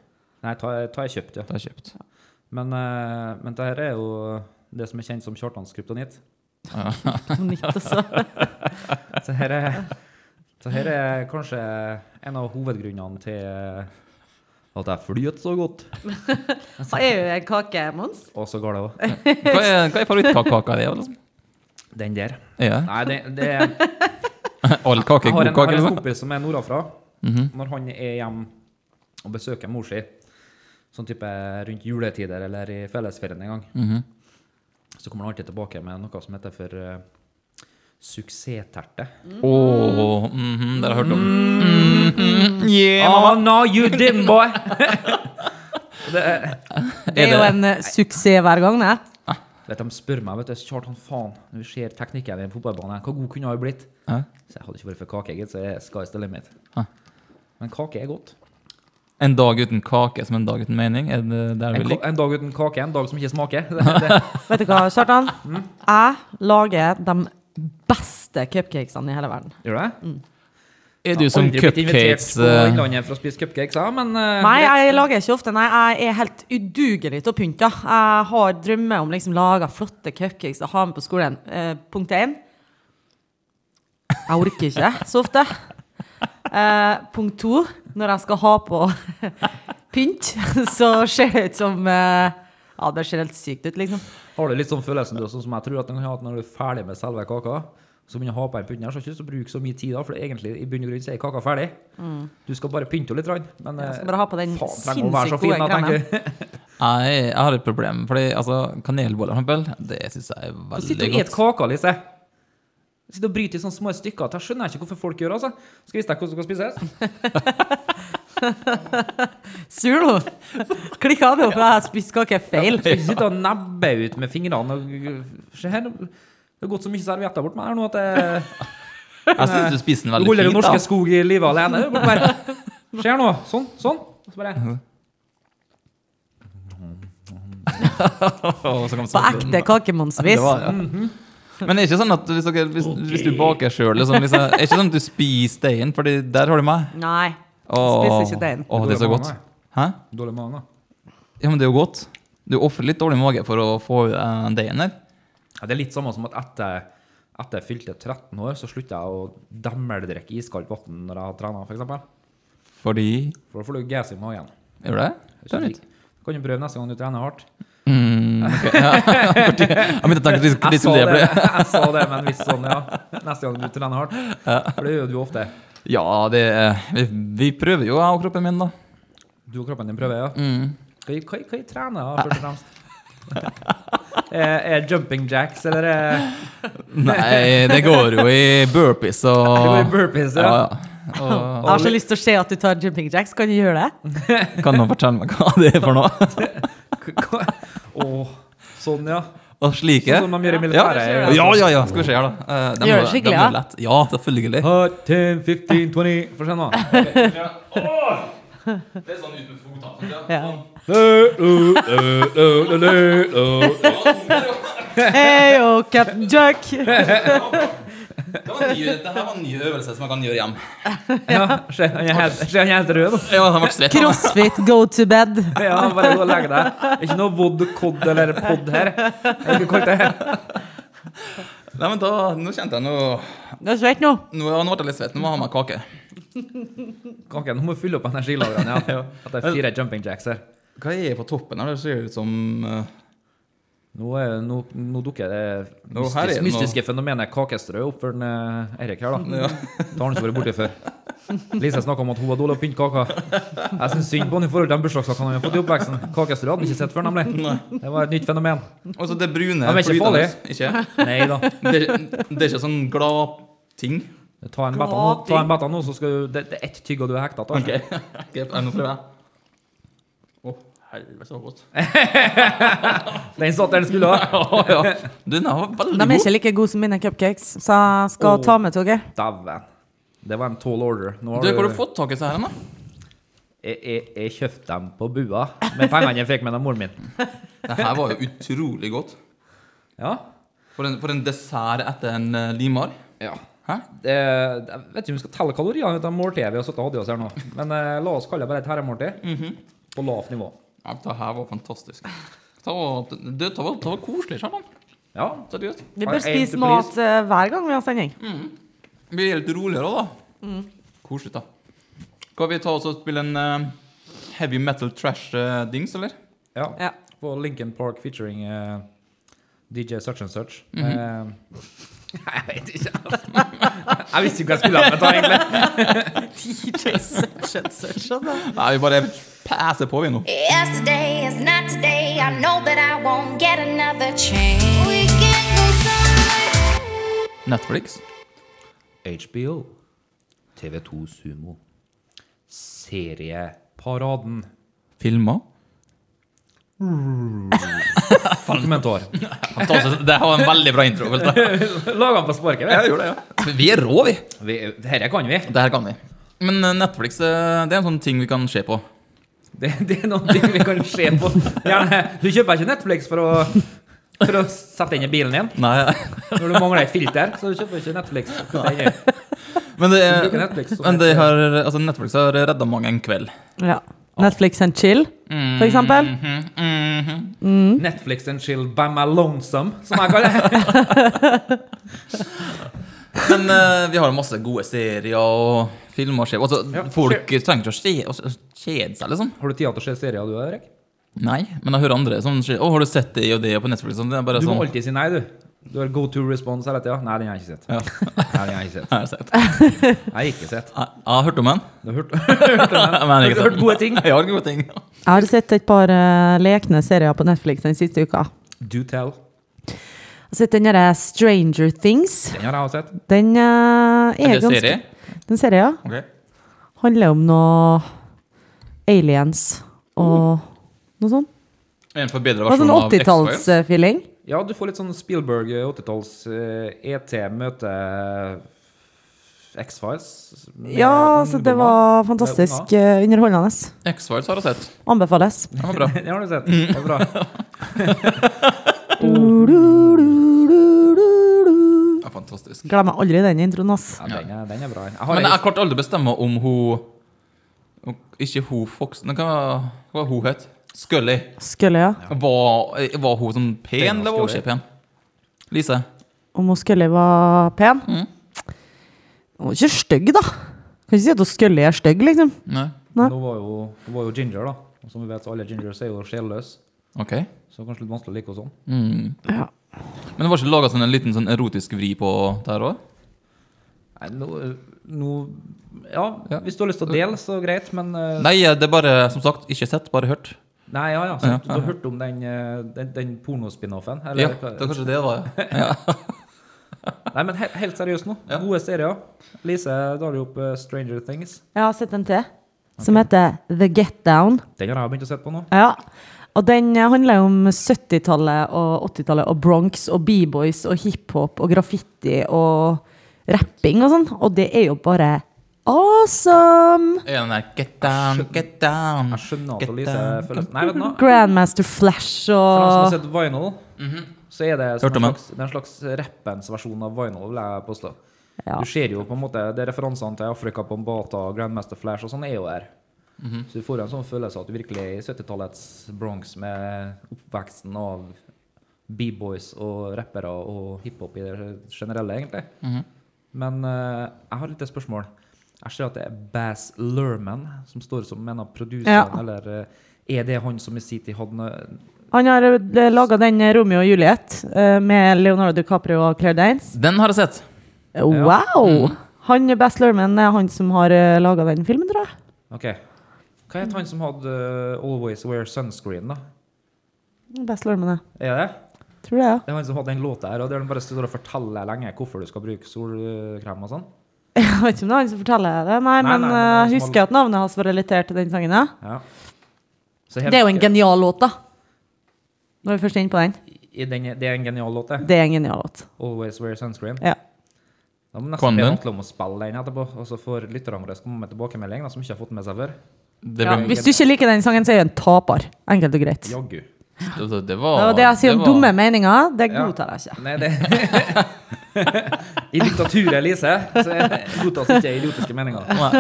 D: Nei, ta, ta jeg kjøpt, ja.
B: Det er kjøpt.
D: Men, eh, men det her er jo det som er kjent som Kjartans kryptonitt.
C: På nytt, altså.
D: Så her er, så her er kanskje en av hovedgrunnene til eh, at jeg flyter så godt.
C: Så er jo en kake, Mons.
D: Og så går det òg.
B: Hva er, hva er favorittkaka di? Liksom?
D: Den der.
B: Ja.
D: Nei, det, det er
B: All kake
D: Jeg
B: er god
D: har en, har
B: kake?
D: en
B: Liksom.
D: kompis som er nordafra. Når han er hjemme og besøker mor si, sånn type rundt juletider eller i fellesferien en gang, så kommer han alltid tilbake med noe som heter for eh, suksessterte.
B: Åh, mhm, dere har hørt om
D: Mm.
B: Mhm, yeah,
D: Oh,
B: mamma.
D: no, you didn't, boy! det, er-
C: Det er jo en eh, suksess hver gang, det.
D: vet, de spør meg, vet du, Kjartan, faen, når vi ser teknikken i en fotballbane, hvor god kunne jeg ha blitt?
B: Hæ?
D: Så jeg hadde ikke vært for kake, gitt, så jeg skal i stedet mitt.
B: Hæ.
D: Men kake er godt.
B: En dag uten kake som en dag uten mening? Er det der
D: En,
B: du
D: ka-
B: liker?
D: en dag uten kake, en dag som ikke smaker. Det, det,
C: Vet du hva, Kjartan? Jeg lager de beste cupcakesene i hele verden.
D: Gjør du det?
B: Er du som
D: Aldri blitt invitert
B: cupcakes
D: på
B: eh,
D: Innlandet for å spise cupcakes, ja, men eh,
C: Nei,
D: greit.
C: jeg lager ikke ofte. Nei, jeg er helt udugelig til å pynte. ja. Jeg har drømmer om liksom laga flotte cupcakes og ha med på skolen. Eh, punkt én Jeg orker ikke så ofte. Eh, punkt to Når jeg skal ha på pynt, så ser det ut som eh, Ja, det ser helt sykt ut, liksom.
D: Har du litt sånn følelsen du, sånn som jeg tror at den kan ha at når du er ferdig med selve kaka, så begynner du å ha på en pynt her, så har du ikke lyst til å bruke så mye tid da, for det er egentlig i bunn og grunn så er kaka ferdig. Du skal bare pynte henne litt, rann, men
C: Mm.
D: eh,
C: Jeg skal bare ha på den sinnssykt
D: gode
C: gode kremen.
B: Nei, jeg har et problem. Fordi altså, kanelboller, for eksempel, det syns jeg er
D: Så sitter
B: veldig
D: du og et
B: godt.
D: kaka, Lise. Sitter og bryter i sånne små stykker. at Jeg skjønner ikke hvorfor folk gjør det. Altså. Skal vise deg hvordan det skal spises.
C: Sur nå. Klikka du på at jeg spiste kake feil?
D: Skal ikke sitte og nebbe ut med fingrene og Se her, det har gått så mye servietter bort meg her nå at det
B: Jeg syns du spiser den
D: Du
B: veldig
D: holder jo
B: fint.
D: norske
B: da.
D: skog i live alene. Du Bare, skjer nå. Sånn, sånn. Og så bare
B: Åh, så kan man
C: På
B: smake den.
C: ekte kakemonsvis.
B: Det var, ja.
D: Mhm.
B: Men det er ikke sånn at hvis, dere, hvis, hvis du baker sjøl, liksom, hvis jeg- er ikke sånn at du spiser deigen, Fordi der har du meg.
C: Nei.
B: Åh,
C: Spiser ikke deigen.
B: åh, det er så godt. Hæ?
D: Dårlig mage.
B: Ja, men det er jo godt. Du ofrer litt dårlig mage for å få eh, deigen der.
D: Ja, det er litt samme som at etter, etter jeg fylte 13 år, så slutta jeg å demmeldrikke iskaldt vann når jeg hadde trena, f.eks.
B: Fordi
D: For da får du gas i magen.
B: Gjør det?
D: Det
B: Det er
D: er
B: nytt.
D: ikke- Kan du prøve neste gang du trener hardt?
B: Jeg begynte å tenke at de skulle- de
D: Jeg sa
B: skulle det
D: det,
B: bli
D: jeg sa det med en viss sånn, ja. Neste gang du trener hardt. For det gjør du ofte.
B: Ja, det er vi, vi prøver jo, jeg og kroppen min, da.
D: Du og kroppen din prøver, ja. Hva, hva, hva jeg trener jeg, først og fremst? er, er jumping jacks, eller er
B: Nei, det går jo i burpees
D: Det går i
B: og
D: burpees, ja.
B: ja, ja. Og,
C: Jeg har så lyst til å se at du tar jumping jacks. Kan du gjøre det?
B: kan noen fortelle meg hva det er for noe?
D: K- k- Åh, sånn, ja.
B: Og slike?
D: Sånn som de gjør i militæret.
C: Ja,
B: Ja, ja, ja, skal vi se her, da. Eh, de
C: Gjør
B: er-
C: det skikkelig,
B: de er
C: ja.
B: lett. Ja, selvfølgelig.
D: Hot, 10, 15, 20 Få se nå.
B: Det er sånn ut med
C: Ja.
B: fotene.
C: Hey, oh, Captain Jack!
B: Det var en ny, dette her var en ny øvelse som man kan gjøre hjem.
D: Ja, se, han er helt- se, han er helt rød nå.
B: Ja, han ble svett. han.
C: Crossfit, go to bed.
D: Ja, bare gå og legge deg. Det er Ikke noe vod, kod eller pod her. Jeg ikke kalt det.
B: Nei, men da, Nå kjente jeg noe
C: Du er svett nå.
B: Nå, nå ble jeg litt svett. Nå må jeg ha meg kake.
D: Kake, nå må vi fylle opp energilagrene. Ja. At det er fire jumping jacks her.
B: Hva er på toppen her? Det ser ut som eh,
D: Nå, er, nå, nå dukker det
B: Nå, her er
D: mystis-
B: det noe.
D: mystiske fenomenet kakestrø opp for en, eh, Erik her, da. Det har han ikke vært borti før. Lise snakka om at hun var dårlig til å pynte kaker. Jeg syns synd på han i forhold til den bursdagskaka han har fått i oppveksten. Kakestrø hadde han ikke sett før, nemlig. Det var et nytt fenomen.
B: Og så altså, det brune
D: Ja, men ikke
B: flytende- Ikke?
D: Nei da.
B: Det, det er ikke sånn glad-ting.
D: Ta en beta nå, ta en beta nå så skal du Det, det er ett tygg, og du er hekta. da.
B: Ok, okay jeg- nå prøver jeg. Å, helvete, så godt.
D: Den satt der den skulle. ha.
B: Du, den var veldig
C: De er
B: god.
C: ikke like gode som mine cupcakes, så jeg skal
D: Åh.
C: ta med dere.
D: Dæven. Det var en tall order. Nå
B: Du, hvor har du fått tak i disse her, da?
D: Jeg, jeg, jeg kjøpte dem på bua med pengene jeg fikk med av moren min.
B: Det her var jo utrolig godt.
D: Ja.
B: For en, for en dessert etter en eh, limar.
D: ja.
B: Hæ?
D: Det, jeg vet ikke om vi skal telle kaloriene ut av måltidet vi har sittet og hatt i oss her nå. Men eh, la oss kalle det bare et herremåltid.
C: Mhm.
D: På lavt nivå.
B: Ja, det her var fantastisk. Det var, det, det var, det var koselig, Kjartan.
D: Ja.
B: Seriøst.
C: Vi
D: Har
C: bør
D: jeg
C: spise
D: egentlig
C: mat eh, hver gang vi har sending.
B: Mm. Det blir litt roligere òg, da. Koselig, da. Skal vi ta oss og spille en eh, heavy metal trash-dings, eller?
D: ja.
C: Ja.
D: På Lincoln Park featuring eh, DJ Such and Such.
C: Mhm.
D: Eh, jeg vet ikke. jeg visste ikke hva jeg skulle ha med da, egentlig.
B: Nei, vi bare passer på, vi nå.
E: Yesterday is not today. I know that I won't get another chance. We can go somewhere.
B: Netflix.
D: HBO, TV2 Sumo, Serieparaden.
B: Filmer.
D: Dokumentar.
B: Fantastisk. Det her var en veldig bra intro. vet du.
D: Laga den på sparket, vi.
B: Vi er rå, vi.
D: vi. Dette kan vi.
B: Det her kan vi. Men eh, Netflix eh, det er en sånn ting vi kan se på.
D: Det, det er noen ting vi kan se på. Gjerne. Du kjøper ikke Netflix for å, for å sette inn i bilen din.
B: Nei,
D: Når du mangler et filter, så du kjøper ikke Netflix. for å sette inn i-
B: Men, det,
D: Du bruker Netflix som
B: men det har, altså Netflix har redda mange en kveld.
C: Ja. Netflix and chill,
B: Mm.
C: for eksempel.
D: Netflix and chill by my lonesome, som jeg kaller det.
B: Men eh, vi har masse gode serier og filmer å se på. Altså,
D: Ja,
B: folk trenger ikke å se- å se- kjede seg, liksom.
D: Har du tid til å se serier, du, Erik?
B: Nei, men jeg hører andre som sier 'Å, har du sett det og det på Netflix?' Sånn, Det er bare
D: Du må
B: sånn.
D: alltid si nei, du. Du har go to response hele tida. Nei, den har jeg ikke sett.
B: Ja.
D: Nei, den har jeg ikke sett.
B: Jeg har sett. Jeg
D: Jeg har ikke sett.
B: jeg har hørt om den.
D: Du har hørt, hørt, om den.
B: Men jeg har ikke
D: Hørt-
B: sett
D: hørt
B: den.
D: gode ting.
B: Jeg har gode ting.
C: Jeg har sett et par eh, lekne serier på Netflix den siste uka.
D: Do tell.
C: Jeg har sett den derre Stranger Things.
D: Den har jeg også sett.
C: Den eh, er,
B: Er det
C: ganske
B: serie?
C: Den serien ja.
B: Ok.
C: handler om noe aliens og noe sånt.
B: En forbedra
C: Det var
B: versjon
C: sånn
B: av
D: eh?
B: X-Files.
C: 80-tallsfeeling.
D: Ja, du får litt sånn Spielberg eh, 80-talls eh, ET møte eh, X-Files. med
C: Ja, så det var fantastisk eh, underholdende.
B: X-Files har jeg sett.
C: Anbefales.
B: Den var bra.
D: ungdommer. Den har du sett. Det er bra.
B: Ja, fantastisk.
C: Glemmer aldri den introen, ass.
D: Ja, den, er, den er bra. Jeg har
B: Men
D: ei-
B: jeg klarte aldri å bestemme om hun om- Ikke hun Fox men Hva hva var hun het? Scully.
C: Skulle, ja.
B: Var, var hun sånn pen, eller var hun
D: Scully.
B: ikke pen? Lise?
C: Om hun Scully var pen?
B: Mm.
C: Hun var ikke stygg, da. Kan ikke si at hun Scully er stygg, liksom.
B: Nei.
C: Nei.
D: Nå var jo, hun var jo ginger, da. Og som vi vet, så alle gingers er jo sjelløse.
B: Ok.
D: Så kanskje litt vanskelig å like henne sånn.
B: Mm.
C: Ja.
B: Men det var ikke laga sånn en liten sånn erotisk vri på det her òg?
D: Nei, nå, eh, nå ja, hvis du har lyst til å dele, så greit, men eh,
B: Nei, det er bare, som sagt, ikke sett, bare hørt.
D: Nei, ja, ja. Så, du har hørt om den, eh, den, den pornospin-offen? eller
B: Ja,
D: hva-
B: det er kanskje det, da.
D: Nei, men he helt seriøst nå. Gode serier. Lise drar jo opp eh, Stranger Things.
C: Jeg har sett en til som heter The Get Down.
D: Den har jeg begynt å se på
B: Mm.
D: nå.
C: Ja. Og den eh, handler jo om 70-tallet og 80-tallet og Bronx og B-boys og hiphop og graffiti og rapping og sånn. Og det er jo bare awesome!
B: Er den der Get down, get down.
D: Jeg skjønner at
B: Get
D: Lise
B: down,
D: føler Nei, vet du hva?
C: Grandmaster Flash
D: For dem som har
C: og
D: sett Vinyl, så er det, som
B: Hørt om
D: en
B: den?
D: slags, det er en slags rappens versjon av Vinyl, vil jeg påstå.
C: Ja.
D: Du ser jo på en måte det er referansene til Afrika Bambata, Grandmaster Flash og sånn er jo her. Så du får jo en sånn følelse at du virkelig er i 70-tallets Bronx med oppveksten av B-boys og rappere og hiphop i det generelle, egentlig. Men eh, jeg har litt et spørsmål. Jeg ser at det er Bass Lerman som står som en av produserne,
C: Ja.
D: eller eh, er det han som i sin tid hadde noe-
C: Han har laga den eh, Romeo og Juliet eh, med Leonardo DiCaprio og Claire Danes.
B: Den har jeg sett.
D: Mm.
C: Wow! Han Best Lerman er han som har laga den filmen, tror jeg.
D: Ok. Hva het han som hadde eh, Always Wear Sunscreen, da?
C: Best Lerman, ja.
D: Er det?
C: Tror det, ja.
D: Det er han som hadde den låta her, og der han bare står og forteller lenge hvorfor du skal bruke solkrem og sånn.
C: Jeg vet ikke om det er han som forteller det, nei,
D: Nei,
C: men jeg
D: nei, men det er han som
C: husker
D: har-
C: at navnet hans var relatert til den sangen. ja.
D: Ja. Så helt-
C: Det er jo en genial låt, da. Når vi først er inne på den.
D: i den, det er en genial låt, det.
C: Det er en genial låt.
D: Always Wear Sunscreen.
C: Ja.
D: Da må vi
B: Kan
D: nesten be
B: den?
D: Atle om å spille den etterpå, og så får lytterne våre komme med tilbakemelding da, som ikke har fått med seg før.
B: Det,
C: Ja,
B: ble,
C: hvis du ikke liker den sangen, så er du en taper. Enkelt og greit. Det
D: Jaggu.
B: altså, det, det var
C: var det jeg sier om
B: var-
C: dumme meninger. Det
D: Ja.
C: godtar jeg ikke.
D: Nei, det I diktaturet, Elise, så er det- godtas ikke idiotiske meninger.
B: Nei.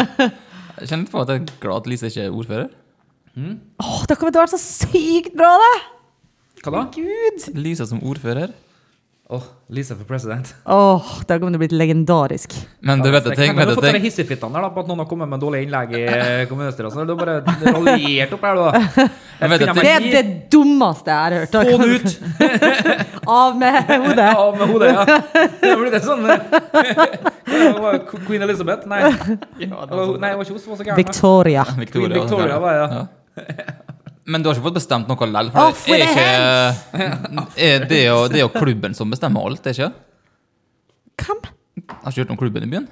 B: Jeg kjenner litt på at jeg er glad at Lise ikke er ordfører.
C: Åh, det kommer til å være så sykt bra, det!
D: Hva da?
C: Gud!
B: Lise som ordfører.
D: Åh, Lise for president.
C: Åh, det kommer til å bli legendarisk.
B: Men du vet det, tenk,
D: Men
B: vet det,
D: du har fått dere
B: tenk.
D: hissefittene der da, på at noen har kommet med dårlige innlegg i eh, kommunestyret. Så du har bare raljert opp her, da.
B: Men vet du,
D: Men
C: Det er
D: gi-
C: det dummeste jeg har hørt.
D: Få den ut!
C: Av med hodet.
D: Av med hodet, ja. Det blir det sånn eh, hva var det, Queen Elizabeth? Nei,
B: Ja, det
D: det var,
B: var sånn.
D: nei, det var ikke hun som var så gæren. da.
C: Victoria.
D: Queen
B: Victoria. altså.
D: Victoria, var det, ja.
B: Men du har ikke fått bestemt noe likevel?
C: Å,
B: For
C: for
B: det
C: det
B: er ikke er det, jo, det er jo klubben som bestemmer alt, det er ikke?
C: Hvem?
B: Har ikke hørt om klubben i byen?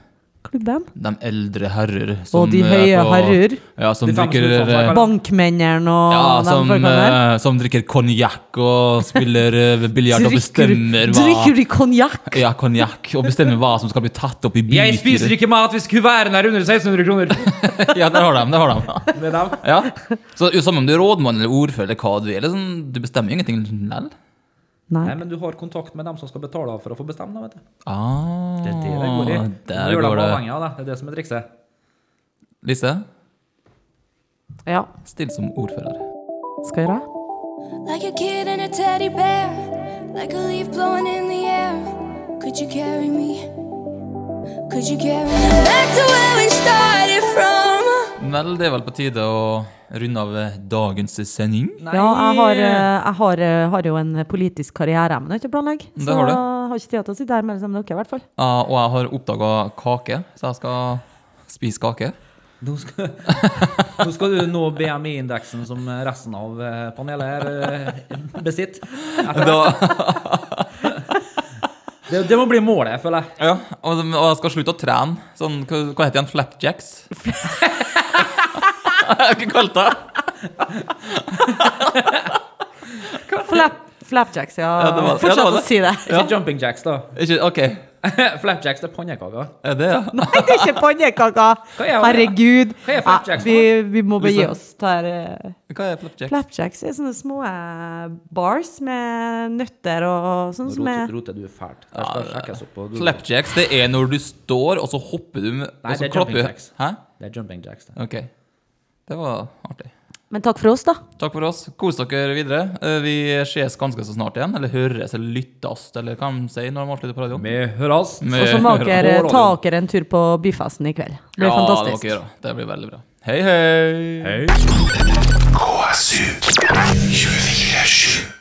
C: Klubben?
B: De eldre herrer
C: Og de
B: eh,
C: høye
B: på-
C: herrer.
B: Ja, som
D: De fem
B: drikker
D: som utfordrer
B: eh,
D: hverandre.
C: Bankmennene og
B: ja,
C: de
B: som,
C: folkene der.
B: eh, som drikker konjakk og spiller eh, biljard og bestemmer
C: drikker
B: hva
C: du konjakk?
B: ja, konjakk, og bestemmer hva som skal bli tatt opp i bystyret.
D: Jeg spiser ikke mat hvis kuverten er under 1600 kroner!
B: Ja, der har de, der har de.
D: Det er dem.
B: Ja. Så jo, Som om du er rådmann eller ordfører eller hva du er, liksom, du bestemmer jo ingenting likevel.
C: Nei.
D: Nei, men du har kontakt med dem som skal betale for å få bestemme, da, vet du.
B: Ah,
D: Det er det det går i.
B: Der
D: du gjør
B: går
D: dem
B: det.
D: avhengig av det. Det er det som er trikset.
B: Lise,
C: Ja,
B: still som ordfører.
C: skal jeg gjøre det?
E: Like a kid and a teddy bear, like a leaf blowing in the air. Could you carry me? Could you carry me? Back to where we started from.
B: Vel, det er vel på tide å runde av dagens sending.
C: Ja, jeg har, eh, jeg har, eh, har jo en politisk karriere, men jeg har ikke planlegg.
B: Det
C: Så
B: har du.
C: jeg har ikke tid til å sitte her mer sammen med dere, i hvert fall.
B: Ja, Ah, og jeg har oppdaga kake, så jeg skal spise kake.
D: Nå skal, nå skal du nå BMI-indeksen som resten av eh, panelet her eh, besitter. Etter-
B: Da,
D: Det, det må bli målet, føler jeg.
B: ja, og, og jeg skal slutte å trene. Sånn, hva, hva heter den? Flapjacks? Hva kalte jeg det?
C: Flap, flapjacks, ja.
B: Ja, det var- ja, det
C: Fortsett
B: var
C: å
B: det.
C: si det.
D: Ikke jumping jacks, da.
B: Ikke, OK.
D: Flapjacks det er pannekaker.
B: Er det, ja?
C: Nei, det er ikke pannekaker!
D: Hva er-
C: Herregud.
D: hva er flapjacks
C: Ja, vi, vi må begi
B: Lisa?
C: oss. Ta her, eh,
B: Hva er flapjacks?
C: flapjacks er sånne små eh, bars med nøtter og sånn som er
D: Roter, roter du fælt. Det skal sjekkes opp. på Google.
B: Flapjacks det er når du står, og så hopper du med-
D: Nei,
B: og så
D: det er
B: klapper
D: jumping
B: du.
D: jacks.
B: Hæ?
D: Det er jumping jacks. Det.
B: OK. Det var artig.
C: Men takk for oss, da.
B: Takk for oss. Kos dere videre. Eh, Vi ses ganske så snart igjen. Eller høres eller lyttes, eller hva de sier når de avslutter på radioen.
D: Vi høres.
B: Vi
C: Og så må
B: hører.
C: dere
D: På
C: ta
D: radioen.
C: eh, dere en tur på byfesten i kveld. Det
B: Ja, det
C: blir
B: må
C: fantastisk.
B: dere gjøre. Det blir veldig bra. Hei, hei.
G: KSU 24 7